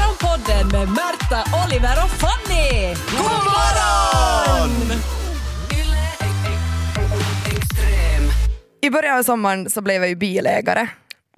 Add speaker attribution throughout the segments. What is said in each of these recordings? Speaker 1: Morgonpodden med Märta, Oliver och Fanny! God morgon!
Speaker 2: I början av sommaren så blev jag ju bilägare.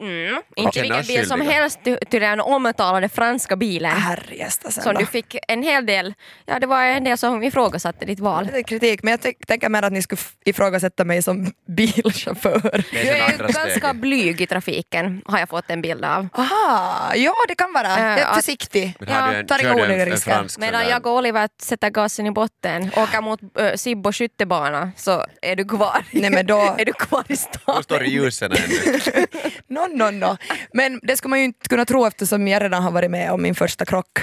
Speaker 3: Mm. Inte
Speaker 4: Okej,
Speaker 3: vilken
Speaker 4: nörskyldiga.
Speaker 3: bil som helst, ty- ty den omtalade franska bilen.
Speaker 2: Herrejästa sen
Speaker 3: Som
Speaker 2: då.
Speaker 3: du fick en hel del, ja det var en del som ifrågasatte ditt val.
Speaker 2: Lite kritik, men jag ty- tänker mer att ni skulle f- ifrågasätta mig som bilchaufför.
Speaker 4: Det
Speaker 3: Du
Speaker 4: är
Speaker 3: är
Speaker 4: sen
Speaker 3: ju
Speaker 4: andra
Speaker 3: ganska
Speaker 4: steget.
Speaker 3: blyg i trafiken har jag fått en bild av.
Speaker 2: Aha, ja det kan vara. jag är
Speaker 3: att-
Speaker 2: försiktig.
Speaker 4: Men har
Speaker 3: Ja,
Speaker 4: du en,
Speaker 2: tar
Speaker 4: kör
Speaker 2: inga
Speaker 4: du en,
Speaker 2: onödiga
Speaker 4: en
Speaker 2: risker.
Speaker 4: fransk sån
Speaker 3: Medan
Speaker 4: där-
Speaker 3: jag och Oliver sätter gasen i botten, åker mot äh, Sibbo skyttebana så är du kvar, i-
Speaker 2: Nej, men då-
Speaker 3: är du kvar i
Speaker 4: Hon
Speaker 3: stan.
Speaker 4: står i ljusen ännu.
Speaker 2: No, no, no. Men det skulle man ju inte kunna tro eftersom jag redan har varit med om min första krock.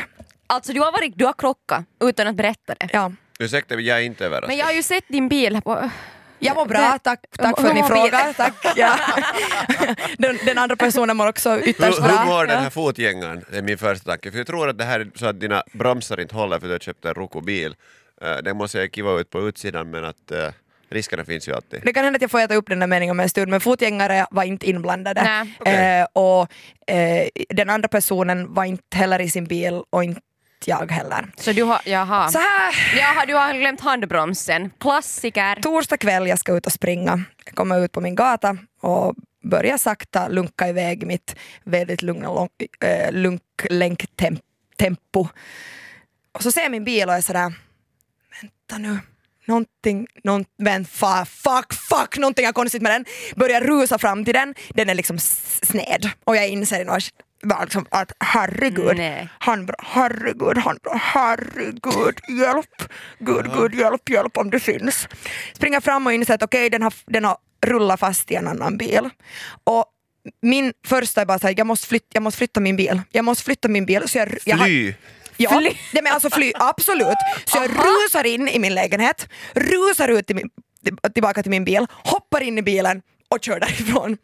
Speaker 3: Alltså du har, varit, du har krockat utan att berätta det.
Speaker 2: Ja.
Speaker 4: Ursäkta, jag är inte överraskad.
Speaker 3: Men jag har ju sett din bil. På,
Speaker 2: Jag mår bra, tack, tack för
Speaker 3: Hur
Speaker 2: att ni
Speaker 3: mår
Speaker 2: frågar.
Speaker 3: bilen?
Speaker 2: Tack. Ja. Den, den andra personen mår också ytterst
Speaker 4: hur, hur
Speaker 2: bra.
Speaker 4: mår den här fotgängaren? Det är min första tanke. För jag tror att det här är så att dina bromsar inte håller för du har köpt en Roku-bil. Eh, Den måste jag kiva ut på utsidan men att uh, riskerna finns ju alltid.
Speaker 2: Det kan hända att jag får äta upp den här meningen om en stund men fotgängare var inte inblandade.
Speaker 3: Nej.
Speaker 4: Okej.
Speaker 2: Eh, och eh, den andra personen var inte heller i sin bil och inte jag heller.
Speaker 3: så du har, jaha.
Speaker 2: Så här
Speaker 3: Jaha, du har glömt handbromsen. Klassiker.
Speaker 2: torsdag kväll jag ska ut och springa. Jag kommer ut på min gata och börjar sakta lunka iväg mitt väldigt lugna lång, äh, lunklänktempo. Och så ser jag min bil och är sådär, vänta nu, någonting, någon, men fa, fuck, fuck, någonting är konstigt med den. Börjar rusa fram till den, den är liksom s- sned och jag inser i några bara liksom att herregud,
Speaker 3: Nej.
Speaker 2: handbra, herregud, handbra, herregud, hjälp, gud, gud, hjälp, hjälp om det syns. Springer fram och inser att okej, den, har, den har rullat fast i en annan bil. Och min första är bara såhär, jag, måste flyt- jag måste flytta min bil, jag måste flytta min bil. Så jag, jag har-
Speaker 4: Fly!
Speaker 2: Ja,
Speaker 3: Fly.
Speaker 2: nej men alltså fly, absolut. Så jag rusar in i min lägenhet, rusar ut till min, till- tillbaka till min bil, hoppar in i bilen och kör därifrån.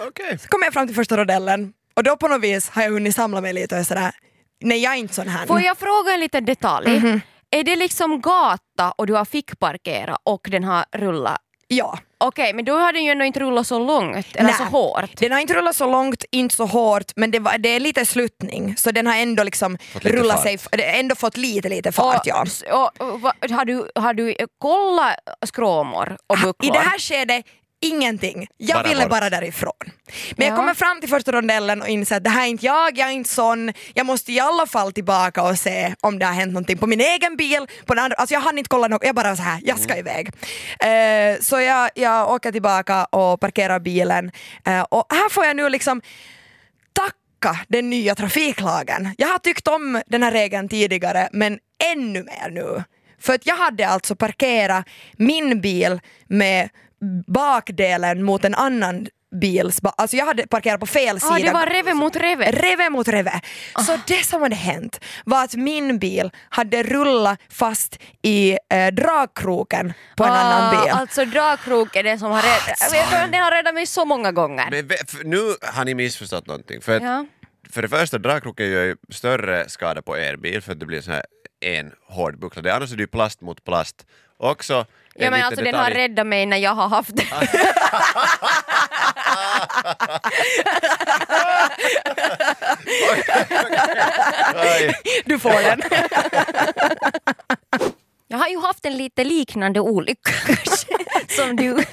Speaker 4: Okej.
Speaker 2: Så kommer jag fram till första rodellen och då på något vis har jag hunnit samla mig lite och är sådär, nej jag är inte sån här.
Speaker 3: Får jag fråga en liten detalj?
Speaker 2: Mhm.
Speaker 3: Är det liksom gata och du har fickparkera och den har rullat?
Speaker 2: Ja.
Speaker 3: Okej, men då har den ju ändå inte rullat så långt eller
Speaker 2: Nej.
Speaker 3: så hårt.
Speaker 2: Den har inte rullat så långt, inte så hårt, men det, var, det är lite sluttning så den har ändå liksom
Speaker 4: Fått lite
Speaker 2: rullat
Speaker 4: fart.
Speaker 2: sig, det har ändå fått lite lite fart ja.
Speaker 3: s- och, och, va- har, du, har du kollat skråmor och
Speaker 2: Ah, I
Speaker 3: bucklor?
Speaker 2: det här skedet ingenting. Jag
Speaker 4: Bara
Speaker 2: ville
Speaker 4: bort.
Speaker 2: bara därifrån. Men
Speaker 3: Ja.
Speaker 2: jag kommer fram till första rondellen och inser att det här är inte jag, jag är inte sån. Jag måste i alla fall tillbaka och se om det har hänt någonting på min egen bil. På den andra. Alltså jag hann inte kolla något, jag bara så här, jag ska
Speaker 4: Mm.
Speaker 2: iväg. Eh, så jag, jag åker tillbaka och parkerar bilen Eh, och här får jag nu liksom tacka den nya trafiklagen. Jag har tyckt om den här regeln tidigare men ännu mer nu. För att jag hade alltså parkerat min bil med bakdelen mot en annan bils... ba- Alltså jag hade parkerat på fel sida.
Speaker 3: ah, det var Ah. reve mot reve.
Speaker 2: Reve mot reve. Så det som hade hänt var att min bil hade rullat fast i eh, dragkroken på en annan bil. Ah,
Speaker 3: Alltså dragkrok är det som har räddat Den har räddat mig så många gånger.
Speaker 4: Men ve- f- nu har ni missförstått någonting. För, att,
Speaker 3: Ja.
Speaker 4: för det första, dragkroken gör ju större skada på er bil för att det blir så här en hård buckla. Det- Annars är det ju plast mot plast. Också en
Speaker 3: Ja, men
Speaker 4: liten
Speaker 3: alltså, den har
Speaker 4: detalj. Ah.
Speaker 3: räddat mig när jag har haft den.
Speaker 4: Oj.
Speaker 2: Du får den.
Speaker 3: Jag har ju haft en lite liknande olycka som du.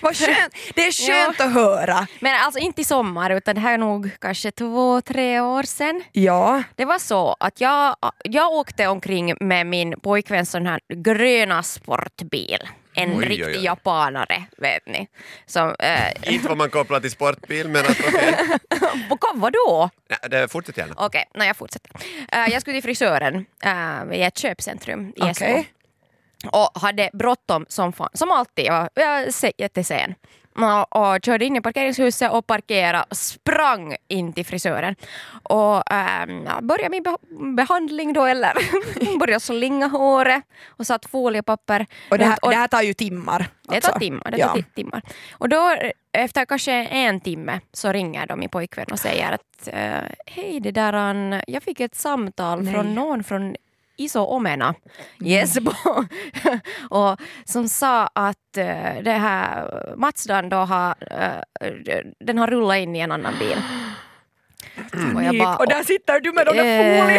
Speaker 2: Vad skönt. Det är skönt att höra.
Speaker 3: Men alltså inte i sommar utan det här är nog kanske två, tre år sedan.
Speaker 2: Ja.
Speaker 3: Det var så att jag, jag åkte omkring med min pojkväns sån här gröna sportbil. En
Speaker 4: Oj, oj, oj.
Speaker 3: riktig japanare, vet ni. Som, eh,
Speaker 4: Inte vad man kopplar till sportbil men att okej.
Speaker 3: vad- vadå?
Speaker 4: Nej, det- Fortsätt gärna.
Speaker 3: Okej, okay, jag fortsätter. Eh, jag skulle till frisören eh, i ett köpcentrum i Esbo.
Speaker 2: Okej.
Speaker 3: Och hade bråttom som fan, som alltid. Jag var jag var se- jättesen. Och, och körde in i parkeringshuset och parkerade och sprang in till frisören. Och ähm, jag började min beh- behandling då, eller började slinga håret och satt foliepapper.
Speaker 2: Och det, här,
Speaker 3: runt- och-
Speaker 2: det här tar ju timmar.
Speaker 3: det
Speaker 2: alltså.
Speaker 3: tar timmar. Det
Speaker 2: Ja.
Speaker 3: tar ti- timmar. Och då, eh, efter kanske en timme så ringer de min pojkvän och säger att eh, hej, det där, han- jag fick ett samtal
Speaker 2: Nej. Mm.
Speaker 3: från någon från Iso Omena i Esbo och som sa att eh, det här Mazdan då har, eh, den har rullat in i en annan bil.
Speaker 4: Mm.
Speaker 3: Och jag
Speaker 2: panik. Mm.
Speaker 3: bara,
Speaker 2: Typ. Och där sitter du med de där folie-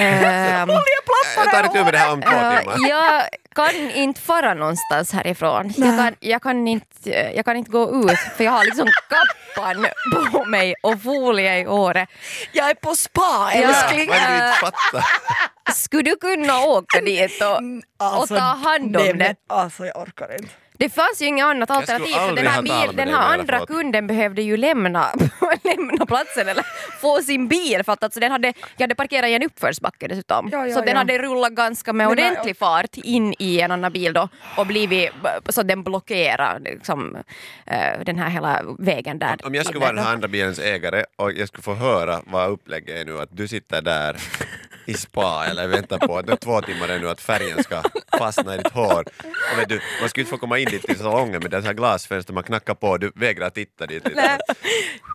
Speaker 4: Jag
Speaker 3: Ehm.
Speaker 4: tar
Speaker 2: oljeplattorna i
Speaker 4: itu med det här
Speaker 2: håret.
Speaker 4: om två
Speaker 3: Äh,
Speaker 4: timmar.
Speaker 3: jag kan inte fara någonstans härifrån. Jag kan, jag, kan inte, jag kan inte gå ut för jag har liksom kappan på mig och folie i håret.
Speaker 2: Jag är på spa
Speaker 3: Ja.
Speaker 2: älskling.
Speaker 4: Vad du inte fattar?
Speaker 3: Skulle du kunna åka dit? Och,
Speaker 2: Alltså,
Speaker 3: Och ta hand om
Speaker 2: nej, men
Speaker 3: det.
Speaker 2: Alltså jag orkar inte.
Speaker 3: det fanns ju inget annat
Speaker 4: skulle
Speaker 3: alternativ. För den
Speaker 4: aldrig ha
Speaker 3: här,
Speaker 4: talat med
Speaker 3: bil, den
Speaker 4: dig
Speaker 3: här
Speaker 4: bara för
Speaker 3: andra
Speaker 4: att-
Speaker 3: kunden behövde ju lämna, lämna platsen eller få sin bil. För att alltså den hade, jag hade parkerat i en uppförsbacke dessutom.
Speaker 2: Ja, ja,
Speaker 3: så den
Speaker 2: ja.
Speaker 3: hade rullat ganska med
Speaker 2: Men nej,
Speaker 3: ordentlig fart in i en annan bil då och blivit så den blockerar liksom, eh, den här hela vägen där.
Speaker 4: Om jag skulle vara den här andra bilens ägare och jag skulle få höra vad upplägget är nu, att du sitter där i spa eller väntar på att det är två timmar ännu att färgen ska fastna i ditt hår. Och vet du, man skulle inte få komma in dit i salongen med det här glasfönstret, man knackar på och du vägrar titta dit. Lite.
Speaker 2: Hon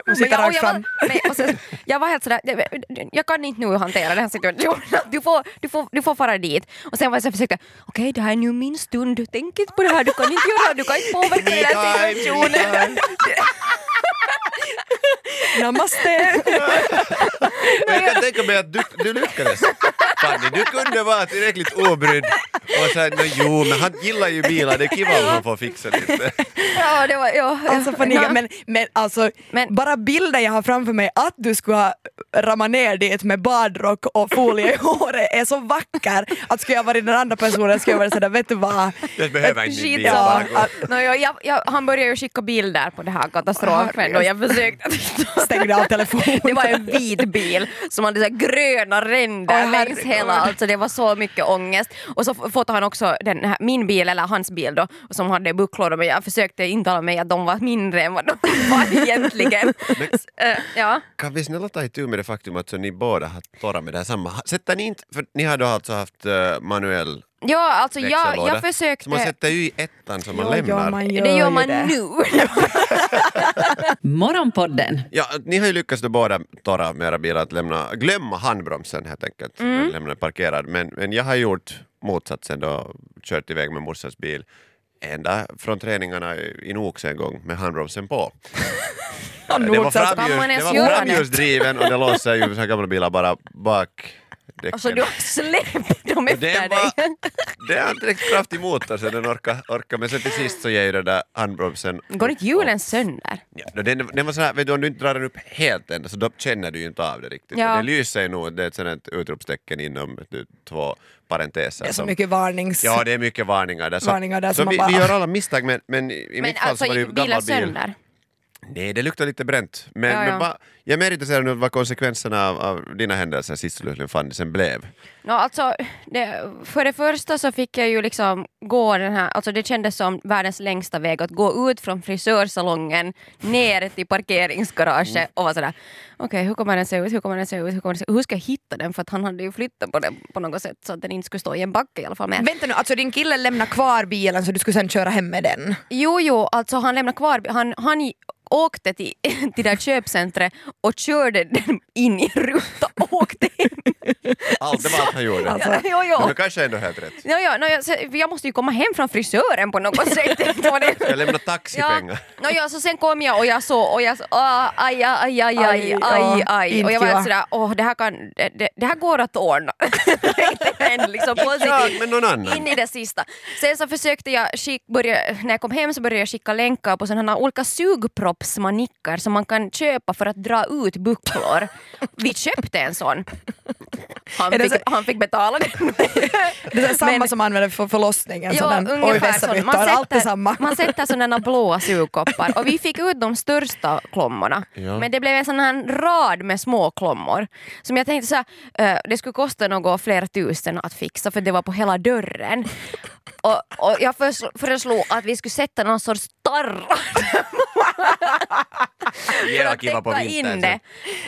Speaker 3: Men
Speaker 2: sitter
Speaker 3: jag,
Speaker 2: rakt
Speaker 3: och jag, var,
Speaker 2: fram.
Speaker 3: nej, och sen, jag var helt sådär, jag, jag kan inte nu hantera den här situationen. Du får, du får, du får fara dit. Och sen var jag så här försökte, okej det här är nu min stund, tänk inte på det här, du kan inte göra, du kan inte påverka den här situationen.
Speaker 2: Namaste.
Speaker 4: Men jag kan tänka mig att du, du lyckades. Fanny, du kunde vara tillräckligt obrydd och säga no, jo, men han gillar ju bilar, det är kiva om han får fixa lite.
Speaker 3: Ja, det var, ja,
Speaker 2: Alltså
Speaker 3: Ja.
Speaker 2: panik, men, men alltså
Speaker 3: Men-
Speaker 2: bara bilden jag har framför mig att du skulle ha rammat ner dit med badrock och folie i håret är så vacker att skulle jag varit den andra personen skulle jag varit sådär, vet du vad?
Speaker 4: Jag behöver inte min bil,
Speaker 2: Ja,
Speaker 4: bara gå.
Speaker 2: att-
Speaker 3: Nå, ja, jag, jag, han började ju skicka bilder på det här katastrofen och jag försökte att-
Speaker 2: stängde av telefonen.
Speaker 3: Det var en vit bil som hade så här gröna ränder
Speaker 2: Åh,
Speaker 3: längs
Speaker 2: herregud.
Speaker 3: hela, alltså det var så mycket ångest. Och så f- fotade han också den här, min bil, eller hans bil då, som hade bucklor men jag försökte intala mig att de var mindre än vad de var egentligen. S- eh, ja.
Speaker 4: Kan vi snälla ta itu med det faktum att så ni båda har torrat med det här samma? Ha- Sätter ni inte, för ni har då alltså haft eh, manuell
Speaker 3: ja, alltså jag,
Speaker 4: växellåda.
Speaker 3: jag
Speaker 4: Så man
Speaker 3: försökte.
Speaker 4: sätter ju i ettan som man
Speaker 2: Ja,
Speaker 4: lämnar.
Speaker 2: ja, man gör
Speaker 3: Det gör
Speaker 2: ju
Speaker 3: man
Speaker 2: det.
Speaker 3: nu.
Speaker 1: Morgonpodden
Speaker 4: Ja, ni har ju lyckats då båda torra med era bilar att lämna, glömma handbromsen helt enkelt, mm. lämna den parkerad. Men, men jag har gjort motsatsen då, kört iväg med morsans bil ända från träningarna i i Nox en gång med handbromsen på. Eh,
Speaker 2: Ja,
Speaker 4: det var
Speaker 2: Nox, alltså,
Speaker 3: kan man
Speaker 4: framljus- det
Speaker 3: ens
Speaker 4: var
Speaker 3: göra det?
Speaker 4: framljusdriven och det låser ju så här gamla bilar bara bak
Speaker 3: Alltså du har släppt dem
Speaker 4: Och den
Speaker 3: efter dig.
Speaker 4: var- Det har direkt kraftig motor så den orkar, orkar. Men sen till sist så ger ju den där handbromsen...
Speaker 3: Går inte hjulen sönder?
Speaker 4: Ja, den, den var sån här, vet du, om du inte drar den upp helt än så då känner du ju inte av det riktigt.
Speaker 3: Ja.
Speaker 4: Det lyser ju nog, det är ett sånt här utropstecken inom vet du, två parenteser.
Speaker 2: Det är så
Speaker 4: som-
Speaker 2: mycket varnings...
Speaker 4: Alltså. Ja, det är mycket varningar där. Så,
Speaker 2: Varningar där
Speaker 4: så
Speaker 2: som man
Speaker 4: vi,
Speaker 2: bara-
Speaker 4: vi gör alla misstag men, men i i
Speaker 3: Men
Speaker 4: mitt fall
Speaker 3: alltså
Speaker 4: så var det ju
Speaker 3: bilen
Speaker 4: gammal bil.
Speaker 3: sönder?
Speaker 4: Nej, det luktar lite bränt. Men,
Speaker 3: Ja, ja.
Speaker 4: men va, jag är mer intresserad nu av vad konsekvenserna av, av dina händelser sist du fann sen blev.
Speaker 3: No, alltså, det, för det första så fick jag ju liksom gå den här, alltså det kändes som världens längsta väg att gå ut från frisörsalongen ner till parkeringsgaraget och vara sådär okej hur kommer den se ut, hur kommer den se ut, hur, kommer den se ut? hur ska jag hitta den för att han hade ju flyttat på den på något sätt så att den inte skulle stå i en backe i alla fall. Men,
Speaker 2: Vänta nu, alltså din kille lämnar kvar bilen så du skulle sen köra hem med den?
Speaker 3: Jo, jo, alltså han lämnade kvar, han, han i- åkte till, till det där köpcentret och körde den in i rutan och åkte hem.
Speaker 4: Allt, det var allt han gjorde.
Speaker 2: Alltså.
Speaker 3: jo, jo.
Speaker 4: Men kanske ändå helt rätt.
Speaker 3: Ja, ja, no, jag, så- jag måste ju komma hem från frisören på något sätt. Det var det.
Speaker 4: Jag lämnar taxipengar.
Speaker 3: Ja, no, ja, så sen kom jag och jag såg och jag så, ah, aj, aj, aj, aj,
Speaker 2: Aj,
Speaker 3: aj,
Speaker 2: ja,
Speaker 3: aj. Och jag
Speaker 2: inte
Speaker 3: var
Speaker 2: jag.
Speaker 3: sådär, åh, det här, kan, det- det, det här går att ordna. Tänkte jag liksom
Speaker 4: Ja,
Speaker 3: positivt.
Speaker 4: men någon annan.
Speaker 3: In i det sista. Sen så försökte jag skick, börja, när jag kom hem så började jag skicka länkar på sådana olika sugproppsmanickar som man kan köpa för att dra ut bucklor. Vi köpte en sån. Han,
Speaker 2: Är det
Speaker 3: fick,
Speaker 2: så-
Speaker 3: han fick betala den.
Speaker 2: Det är samma
Speaker 3: Men-
Speaker 2: som använder för förlossningen,
Speaker 3: Ja,
Speaker 2: sådan, oj
Speaker 3: ungefär
Speaker 2: vässa
Speaker 3: så.
Speaker 2: byttar, allt är samma.
Speaker 3: man sätter sådana blåa sugkoppar och vi fick ut de största klommorna.
Speaker 4: Ja.
Speaker 3: Men det blev en sån här rad med små klommor som jag tänkte så här, eh, det skulle kosta något flera tusen att fixa för det var på hela dörren. Och, och jag försl- föreslog att vi skulle sätta någon sorts tarra
Speaker 4: Jävla kiva på
Speaker 3: täcka
Speaker 4: vintern.
Speaker 3: in det.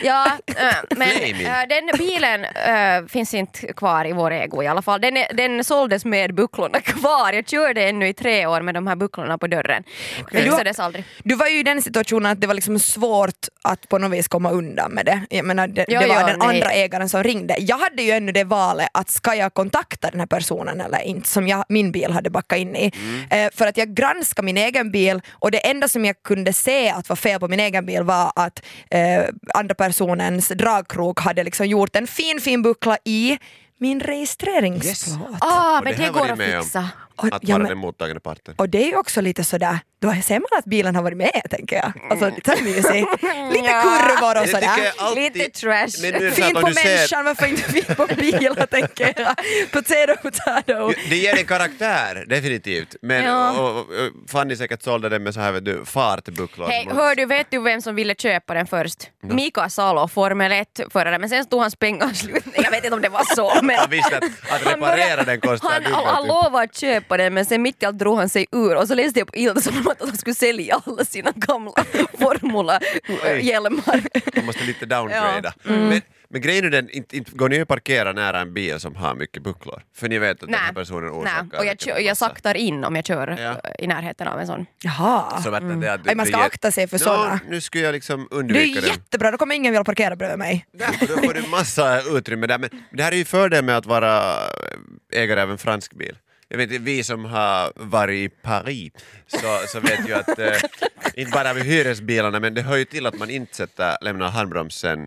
Speaker 3: Ja, äh, men
Speaker 4: Flaming.
Speaker 3: äh, den bilen äh, finns inte kvar i vår ägo i alla fall. Den, är- den såldes med bucklorna kvar. Jag körde ännu i tre år med de här bucklorna på dörren. Okay. Fixades aldrig.
Speaker 2: Du var ju i den situationen att det var liksom svårt att på något vis komma undan med det. Jag menar, det,
Speaker 3: Ja,
Speaker 2: det var
Speaker 3: ja,
Speaker 2: den
Speaker 3: nej.
Speaker 2: andra ägaren som ringde. Jag hade ju ännu det valet att ska jag kontakta den här personen eller inte som
Speaker 3: Mm.
Speaker 2: jag, min bil hade backat in i. Eh, för att jag granskade min egen bil och det enda som jag kunde se att var fel på min egen bil var att eh, andra personens dragkrok hade liksom gjort en fin fin buckla i min registreringsplåt.
Speaker 3: Ah,
Speaker 4: Och
Speaker 3: men
Speaker 4: det här
Speaker 3: det
Speaker 4: var
Speaker 3: går
Speaker 4: det
Speaker 3: att
Speaker 4: med om.
Speaker 3: fixa.
Speaker 2: Och-
Speaker 4: Att
Speaker 2: ja,
Speaker 4: vara
Speaker 2: men-
Speaker 4: den mottagande parten.
Speaker 2: och det är ju också lite sådär, då ser man att bilen har varit med tänker jag. Alltså lite så mysig. Lite
Speaker 3: Ja.
Speaker 2: kurvor och
Speaker 4: Det tycker
Speaker 2: sådär.
Speaker 4: jag alltid-
Speaker 3: Lite trash.
Speaker 4: Men nu är det så här
Speaker 2: Fint
Speaker 4: att om
Speaker 2: på
Speaker 4: du ser-
Speaker 2: människan, varför inte fint på bilar tänker jag. Potato, potato.
Speaker 4: Det ger en karaktär, definitivt. Men
Speaker 3: Ja.
Speaker 4: och, och, och, Fanny säkert sålde den med så här vet du, fartbucklor.
Speaker 3: Hej, hör du, vet du vem som ville köpa den först? Mika Salo, Formel 1-förare, men sen tog hans pengar slut. Nej, Jag vet inte om det var så, men...
Speaker 4: Han visste att, att reparera
Speaker 3: började-
Speaker 4: den kostar
Speaker 3: han,
Speaker 4: dubbelt.
Speaker 3: han, han
Speaker 4: upp.
Speaker 3: lovade att köpa den men sen mitt i allt drog han sig ur och så läste jag på Ilta som att han skulle sälja alla sina gamla
Speaker 4: Oj.
Speaker 3: Formula-hjälmar.
Speaker 4: Man måste lite downgrada.
Speaker 3: Mm.
Speaker 4: Men, men grejen är den, inte, inte går ni att parkera nära en bil som har mycket bucklor? För ni vet att den här personen orsakar...
Speaker 3: nej, och jag,
Speaker 4: mycket
Speaker 3: kö- jag
Speaker 4: massa.
Speaker 3: saktar in om jag kör
Speaker 4: Ja.
Speaker 3: eh, i närheten av en sån.
Speaker 2: Jaha.
Speaker 4: Som att
Speaker 3: Mm.
Speaker 4: den där-
Speaker 2: Nej, man ska
Speaker 4: det-
Speaker 2: akta sig för
Speaker 4: Nå,
Speaker 2: såna.
Speaker 4: Nu skulle jag liksom
Speaker 2: Det är
Speaker 4: undvika
Speaker 2: ju
Speaker 4: den.
Speaker 2: jättebra, då kommer ingen vilja parkera bredvid mig.
Speaker 4: Därför då får du massa utrymme där. Men det här är ju fördel med att vara eh, ägare av en fransk bil. Jag vet inte, vi som har varit i Paris så, så vet ju att eh, inte bara med hyresbilarna men det hör ju till att man inte sätter, lämnar handbromsen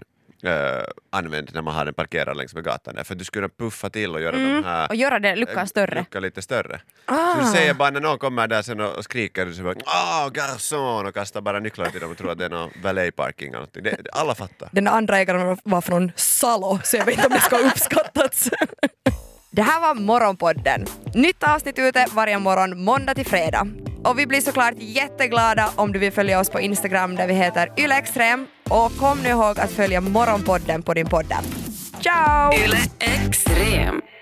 Speaker 4: eh, använd när man har den parkerad längs med gatan där. För du skulle puffa till och göra de här
Speaker 3: Mm,
Speaker 4: eh,
Speaker 3: Och göra den luckan större. Ah.
Speaker 4: luckan lite större. Så du säger bara när någon kommer där sen och och skriker så bara ”Ah, garçon!” och kastar bara nycklar till dem och tror att det är någon valet parking eller någonting. Det, alla fattar.
Speaker 2: Den andra ägaren var- var från Salo, så jag vet inte om det ska ha uppskattats. Det här var Morgonpodden. Nytt avsnitt ute varje morgon måndag till fredag. Och vi blir såklart jätteglada om du vill följa oss på Instagram där vi heter ylextrem. Och kom nu ihåg att följa Morgonpodden på din podd. Ciao!
Speaker 5: Yle Extrem.